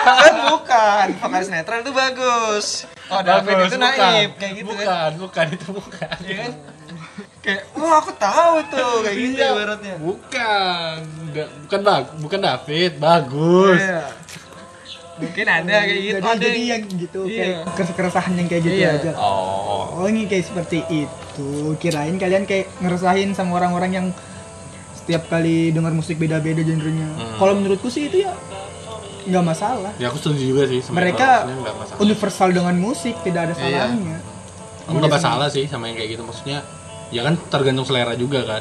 Speaker 1: kan bukan vokalis netral itu bagus oh David
Speaker 2: Bagus,
Speaker 1: itu
Speaker 2: bukan.
Speaker 1: naib kayak gitu kan
Speaker 2: Bukan, bukan itu bukan.
Speaker 1: Iya kan kayak oh aku tahu tuh kayak gitu
Speaker 2: Iya.
Speaker 1: ibaratnya
Speaker 2: Bukan. Nggak- bukan bag, bukan David, bagus.
Speaker 1: Iya. mungkin ada kayak gitu
Speaker 3: jadi,
Speaker 1: ada
Speaker 3: jadi
Speaker 1: yang-
Speaker 3: yang gitu
Speaker 1: Iya.
Speaker 3: kayak keresahan yang kayak gitu
Speaker 1: Iya.
Speaker 3: aja.
Speaker 2: Oh.
Speaker 3: Oh ini kayak seperti itu Kirain kalian kayak ngeresahin sama orang-orang yang Setiap kali denger musik beda-beda genrenya Kalau menurutku sih itu ya nggak masalah
Speaker 2: Ya aku setuju juga sih sama
Speaker 3: Mereka
Speaker 2: Iqbal. Maksudnya nggak masalah.
Speaker 3: universal dengan musik Tidak ada salahnya
Speaker 2: Aku nggak masalah sih sama yang kayak gitu maksudnya. Ya kan tergantung selera juga kan.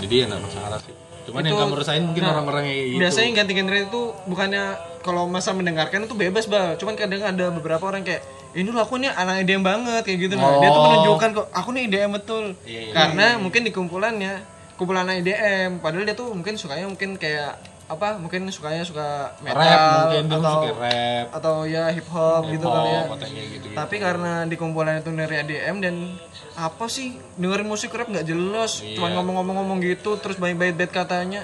Speaker 2: Jadi ya nggak masalah sih. Cuman
Speaker 1: Itu-
Speaker 2: yang kamu rasain mungkin
Speaker 1: nah,
Speaker 2: orang-orang yang kayak gitu.
Speaker 1: biasanya yang ganti genre itu bukannya kalau masa mendengarkan itu bebas bal cuman kadang ada beberapa orang kayak ini loh aku nih anak IDM banget kayak gitu loh dia tuh
Speaker 2: Oh.
Speaker 1: menunjukkan kok aku nih IDM betul
Speaker 2: Iya, iya,
Speaker 1: karena mungkin di kumpulannya kumpulan anak IDM padahal dia tuh mungkin sukanya mungkin kayak apa mungkin sukanya suka metal
Speaker 2: rap mungkin dia
Speaker 1: atau
Speaker 2: suka rap.
Speaker 1: atau ya hip hop gitu kali ya
Speaker 2: atau kayak gitu.
Speaker 1: tapi karena di kumpulan itu dari ADM dan apa sih dengerin musik rap nggak jelas
Speaker 2: Iya.
Speaker 1: cuman ngomong-ngomong-ngomong gitu terus banyak banyak bad katanya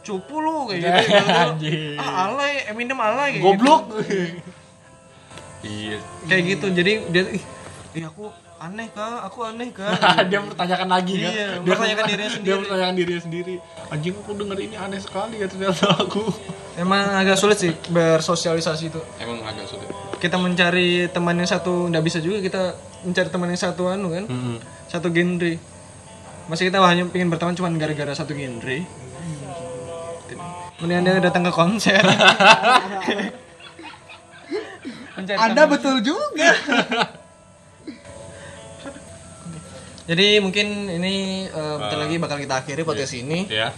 Speaker 1: cupu lu kayak gitu Gitu, gitu.
Speaker 2: Anjing.
Speaker 1: ah alay Eminem alay kayak
Speaker 2: Goblok. Iya.
Speaker 1: gitu. kayak gitu jadi dia ih, ih, aku aneh kak aku aneh kak
Speaker 2: dia mempertanyakan lagi kan.
Speaker 1: Iya,
Speaker 2: Dia
Speaker 1: mempertanyakan dirinya
Speaker 2: Dia
Speaker 1: sendiri.
Speaker 2: mempertanyakan dirinya sendiri. Anjing aku denger ini aneh sekali ya ternyata aku.
Speaker 1: emang agak sulit sih bersosialisasi itu
Speaker 2: Emang agak sulit.
Speaker 1: kita mencari teman yang satu nggak bisa juga kita mencari teman yang satu anu kan satu genre masih kita hanya pengen berteman cuma gara-gara satu genre kemudian dia datang ke konser Mencari
Speaker 3: Anda
Speaker 1: teman.
Speaker 3: betul juga
Speaker 1: jadi mungkin ini eh, bentar lagi bakal kita akhiri podcast ini
Speaker 2: Ya.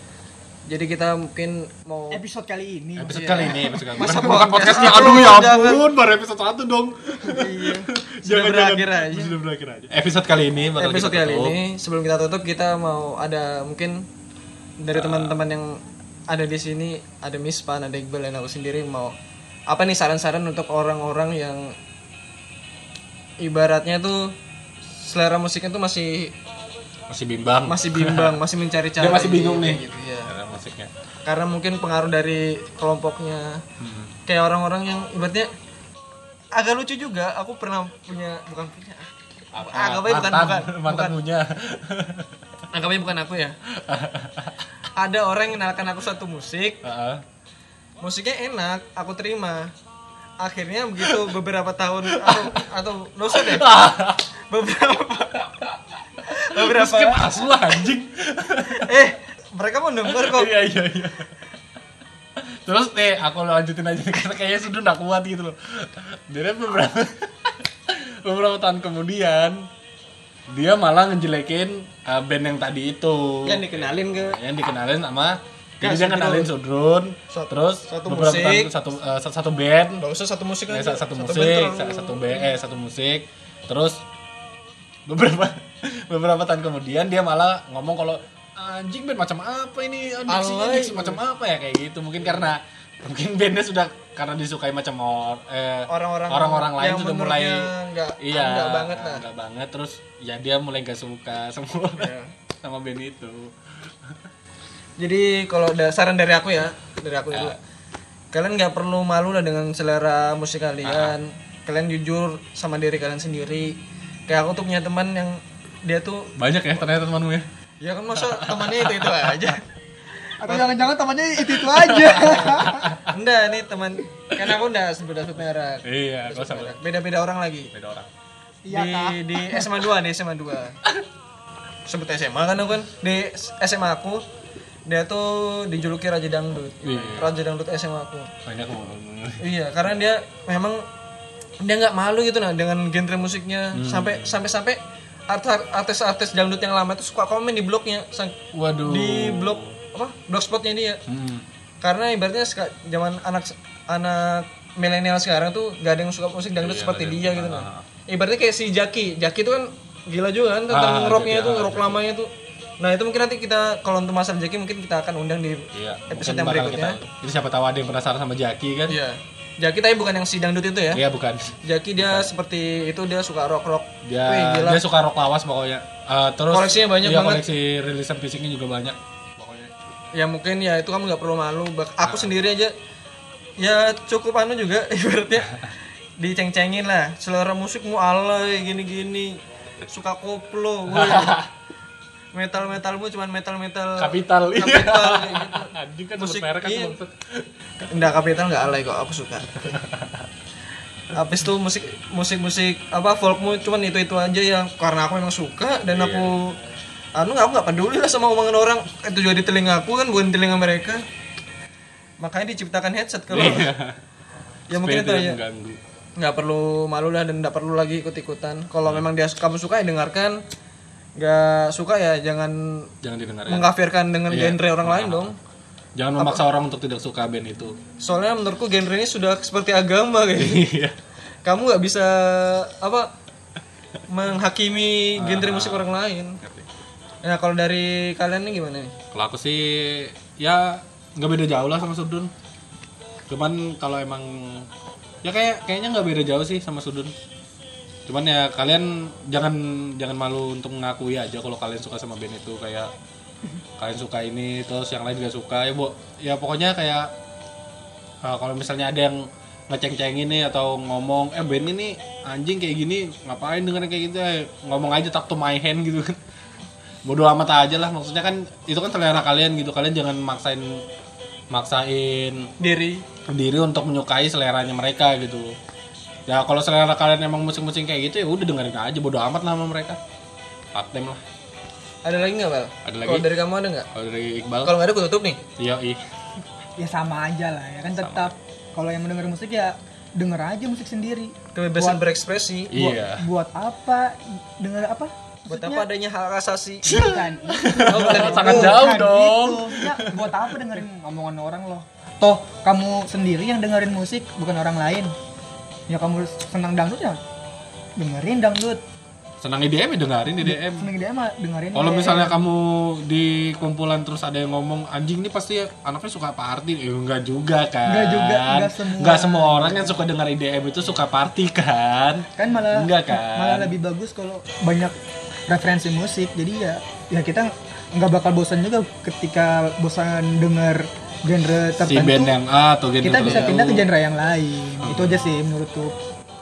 Speaker 1: jadi kita mungkin mau
Speaker 3: Episode kali ini
Speaker 2: Episode kali ini, episode kali ini.
Speaker 1: Masa
Speaker 2: Bukan- bukan
Speaker 1: podcast
Speaker 2: podcastnya,
Speaker 1: satu,
Speaker 2: aduh ya
Speaker 1: jangan.
Speaker 2: ampun, baru episode satu dong.
Speaker 1: Iya.
Speaker 2: Jangan,
Speaker 1: kan? berakhir
Speaker 2: jangan.
Speaker 1: aja.
Speaker 2: Sudah berakhir aja. Episode kali ini bakal
Speaker 1: episode
Speaker 2: kita
Speaker 1: kali
Speaker 2: tutup.
Speaker 1: ini sebelum kita tutup kita mau ada mungkin dari
Speaker 2: Eh.
Speaker 1: teman-teman yang ada di sini ada Miss Pan ada Iqbal dan aku sendiri mau apa nih saran-saran untuk orang-orang yang ibaratnya tuh selera musiknya tuh masih
Speaker 2: masih bimbang kan,
Speaker 1: masih bimbang, masih mencari-cari.
Speaker 2: Dia masih bingung nih.
Speaker 1: Gitu, ya.
Speaker 2: Karena musiknya
Speaker 1: Karena mungkin pengaruh dari kelompoknya.
Speaker 2: Hmm.
Speaker 1: Kayak orang-orang yang ibaratnya agak lucu juga. Aku pernah punya bukan punya.
Speaker 2: apa
Speaker 1: Anggapnya Ah, bukan-
Speaker 2: Ah, mantan,
Speaker 1: bukan,
Speaker 2: mantan punya
Speaker 1: Anggapnya bukan aku ya. Ada orang yang kenalkan aku satu musik,
Speaker 2: Heeh.
Speaker 1: musiknya enak, aku terima. Akhirnya begitu beberapa tahun atau atau nggak usah deh. Beberapa beberapa
Speaker 2: skip asu lah anjing
Speaker 1: eh mereka mau denger kok
Speaker 2: iya iya iya terus nih aku lanjutin aja karena kayaknya sudah nggak kuat gitu loh jadi beberapa beberapa tahun kemudian dia malah ngejelekin uh, band yang tadi itu
Speaker 1: yang dikenalin ke
Speaker 2: yang dikenalin sama
Speaker 1: Ya, Sudrun.
Speaker 2: jadi dia kenalin Sudrun
Speaker 1: Satu-
Speaker 2: terus
Speaker 1: satu
Speaker 2: beberapa
Speaker 1: musik.
Speaker 2: tahun satu eh, satu, satu band
Speaker 1: nggak usah satu musik
Speaker 2: ya,
Speaker 1: aja
Speaker 2: satu, satu musik
Speaker 1: band
Speaker 2: sa-
Speaker 1: terlalu-
Speaker 2: satu band eh, satu musik terus beberapa beberapa tahun kemudian dia malah ngomong kalau anjing band macam apa ini
Speaker 1: Alay. gitu."
Speaker 2: anjing macam apa ya kayak gitu mungkin karena mungkin bandnya sudah karena disukai macam or, eh,
Speaker 1: Orang-orang
Speaker 2: orang-orang lain
Speaker 1: yang
Speaker 2: sudah mulai
Speaker 1: menurutnya nggak-
Speaker 2: iya
Speaker 1: nggak banget lah.
Speaker 2: nggak banget terus ya dia mulai gak suka semua
Speaker 1: Iya.
Speaker 2: sama band itu
Speaker 1: jadi kalau da- saran dari aku ya dari aku
Speaker 2: Ah.
Speaker 1: itu kalian nggak perlu malu lah dengan selera musik kalian
Speaker 2: Ah.
Speaker 1: kalian jujur sama diri kalian sendiri kayak aku tuh punya teman yang dia tuh
Speaker 2: banyak ya ternyata temanmu ya
Speaker 1: ya kan masa temannya itu itu aja
Speaker 3: Atau jangan-jangan temannya itu-itu aja.
Speaker 1: enggak nih teman karena aku enggak sebut sebut merek
Speaker 2: iya gak usah Bang.
Speaker 1: beda beda orang lagi
Speaker 2: beda orang
Speaker 3: Iya,
Speaker 1: di, di
Speaker 3: Kak.
Speaker 1: SMA 2 di SMA 2 sebut SMA kan aku kan di SMA aku dia tuh dijuluki Raja Dangdut
Speaker 2: Iya.
Speaker 1: Raja Dangdut SMA aku
Speaker 2: banyak ngomong
Speaker 1: iya karena dia memang dia nggak malu gitu nah dengan genre musiknya sampai sampai sampai art- artis-artis dangdut yang lama itu suka komen di blognya sang-
Speaker 2: waduh
Speaker 1: di blog apa blogspotnya dia
Speaker 2: Hmm.
Speaker 1: karena ibaratnya seka- zaman anak anak milenial sekarang tuh gak ada yang suka musik
Speaker 2: Iya,
Speaker 1: dangdut seperti dia gitu
Speaker 2: Ah,
Speaker 1: nah. Ibaratnya kayak si Jaki, Jaki itu kan gila juga kan tentang
Speaker 2: Ah,
Speaker 1: rocknya
Speaker 2: Jaki,
Speaker 1: itu,
Speaker 2: ah,
Speaker 1: rock lamanya itu. Nah itu mungkin nanti kita kalau untuk masalah Jaki mungkin kita akan undang di
Speaker 2: Iya,
Speaker 1: episode
Speaker 2: mungkin
Speaker 1: yang
Speaker 2: bakal
Speaker 1: berikutnya.
Speaker 2: Kita, jadi siapa tahu ada yang penasaran sama Jaki kan? Iya,
Speaker 1: Iya. Jaki tapi bukan yang si dangdut itu ya.
Speaker 2: bukan.
Speaker 1: Jaki dia seperti itu dia suka rock rock.
Speaker 2: Dia
Speaker 1: Wih, gila.
Speaker 2: dia suka rock lawas pokoknya. Eh, terus
Speaker 1: Koleksinya banyak
Speaker 2: iya,
Speaker 1: banget.
Speaker 2: Koleksi rilisan fisiknya juga banyak. Pokoknya.
Speaker 1: Ya mungkin ya itu kamu nggak perlu malu. Bak- Aku sendiri aja ya cukup anu juga ibaratnya diceng-cengin lah. Selera musikmu alay gini-gini. Suka koplo. woi. Metal-metalmu cuman metal-metal
Speaker 2: Kapital. Iya.
Speaker 1: kapital kayak gitu.
Speaker 2: Anjing kan
Speaker 1: Musik,
Speaker 2: sebut merek kan
Speaker 1: iya.
Speaker 2: maksud.
Speaker 1: Enggak kapital enggak alay kok, aku suka. Habis itu musik musik musik apa folkmu cuman itu itu aja ya karena aku emang suka dan aku anu aku nggak peduli lah sama omongan orang itu juga di telinga aku kan bukan di telinga mereka makanya diciptakan headset kalau
Speaker 2: Iya.
Speaker 1: ya mungkin itu
Speaker 2: Supaya
Speaker 1: aja
Speaker 2: tidak mengganggu.
Speaker 1: nggak perlu malu lah dan nggak perlu lagi ikut ikutan kalau memang dia kamu suka ya dengarkan nggak suka ya jangan
Speaker 2: Jangan didengar. ya.
Speaker 1: mengkafirkan dengan genre orang lain dong
Speaker 2: Jangan memaksa orang untuk tidak suka band itu.
Speaker 1: soalnya menurutku genre ini sudah seperti agama gitu
Speaker 2: Iya.
Speaker 1: kamu nggak bisa apa menghakimi genre musik orang lain. Nah kalau dari kalian nih gimana nih?
Speaker 2: Kalau aku sih ya nggak beda jauh lah sama Sudun. Cuman kalau emang ya kayak kayaknya nggak beda jauh sih sama Sudun. Cuman ya kalian jangan jangan malu untuk mengakui aja kalau kalian suka sama band itu kayak kalian suka ini terus yang lain juga suka ya bu ya pokoknya kayak eh, kalau misalnya ada yang ngeceng-cengin nih atau ngomong eh band ini anjing kayak gini ngapain dengerin kayak gitu Eh, ngomong aja tak to my hand gitu kan bodoh amat aja lah maksudnya kan itu kan selera kalian gitu kalian jangan maksain maksain
Speaker 1: Diri.
Speaker 2: diri untuk menyukai seleranya mereka gitu ya kalau selera kalian emang musik-musik kayak gitu ya udah dengerin aja bodoh amat lah sama mereka Patem lah
Speaker 1: Ada lagi nggak Bal?
Speaker 2: Ada lagi.
Speaker 1: Kalau dari kamu ada nggak?
Speaker 2: kalau dari Iqbal
Speaker 1: Kalau nggak ada aku tutup nih.
Speaker 2: iya ih
Speaker 3: ya sama aja lah ya kan tetap kalau yang mendengar musik ya denger aja musik sendiri
Speaker 1: Kebebasan berekspresi.
Speaker 3: buat,
Speaker 2: iya
Speaker 3: buat apa denger apa
Speaker 1: Buat apa adanya hak asasi?
Speaker 3: bukan
Speaker 1: Oh, bukan.
Speaker 2: sangat jauh
Speaker 3: Bukan
Speaker 2: dong
Speaker 3: itu. Gitu. Nah, ya buat apa dengerin omongan orang loh toh kamu sendiri yang dengerin musik bukan orang lain ya kamu senang dangdut ya dengerin dangdut
Speaker 2: senang IDM ya dengerin IDM
Speaker 3: seneng dia mah dengerin
Speaker 2: kalau
Speaker 3: kayak-
Speaker 2: misalnya kamu di kumpulan terus ada yang ngomong anjing nih pasti anaknya suka party eh enggak juga kan
Speaker 3: Enggak juga, enggak semua.
Speaker 2: Enggak semua orang yang suka denger IDM itu suka party kan
Speaker 3: kan malah
Speaker 2: Enggak kan?
Speaker 3: malah lebih bagus kalau banyak referensi musik jadi ya ya kita nggak bakal bosan juga ketika bosan denger genre
Speaker 2: si band
Speaker 3: tertentu
Speaker 2: yang A atau genre
Speaker 3: kita bisa
Speaker 2: tertentu.
Speaker 3: pindah ke genre yang lain itu aja sih menurutku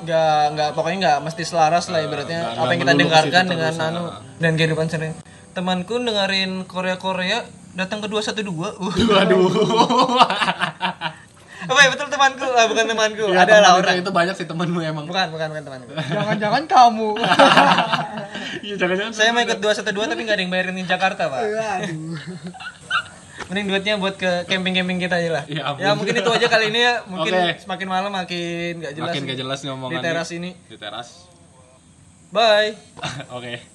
Speaker 1: nggak nggak pokoknya nggak mesti selaras lah ibaratnya
Speaker 2: Eh,
Speaker 1: apa
Speaker 2: nggak-
Speaker 1: yang
Speaker 2: nggak
Speaker 1: kita
Speaker 2: melulu ke
Speaker 1: dengarkan
Speaker 2: situ
Speaker 1: dengan
Speaker 2: terus,
Speaker 1: anu dan kehidupan sering temanku dengerin Korea Korea datang ke 212 uh.
Speaker 2: waduh
Speaker 1: apa ya betul temanku ah, bukan temanku ada
Speaker 2: Ya, teman
Speaker 1: lah
Speaker 2: itu-
Speaker 1: orang
Speaker 2: itu banyak sih temenmu emang
Speaker 1: bukan bukan bukan temanku
Speaker 3: jangan-jangan kamu
Speaker 2: Iya jangan-jangan
Speaker 1: saya mau ikut 212 tapi nggak ada yang bayarin di Jakarta pak
Speaker 3: Aduh.
Speaker 1: mending duitnya buat ke camping-camping kita aja lah.
Speaker 2: Ya ampun.
Speaker 1: ya mungkin itu aja kali ini ya. Mungkin
Speaker 2: Oke.
Speaker 1: semakin malam makin nggak jelas.
Speaker 2: makin gak jelas nih
Speaker 1: di
Speaker 2: omongannya
Speaker 1: teras ini.
Speaker 2: di teras
Speaker 1: Bye.
Speaker 2: oke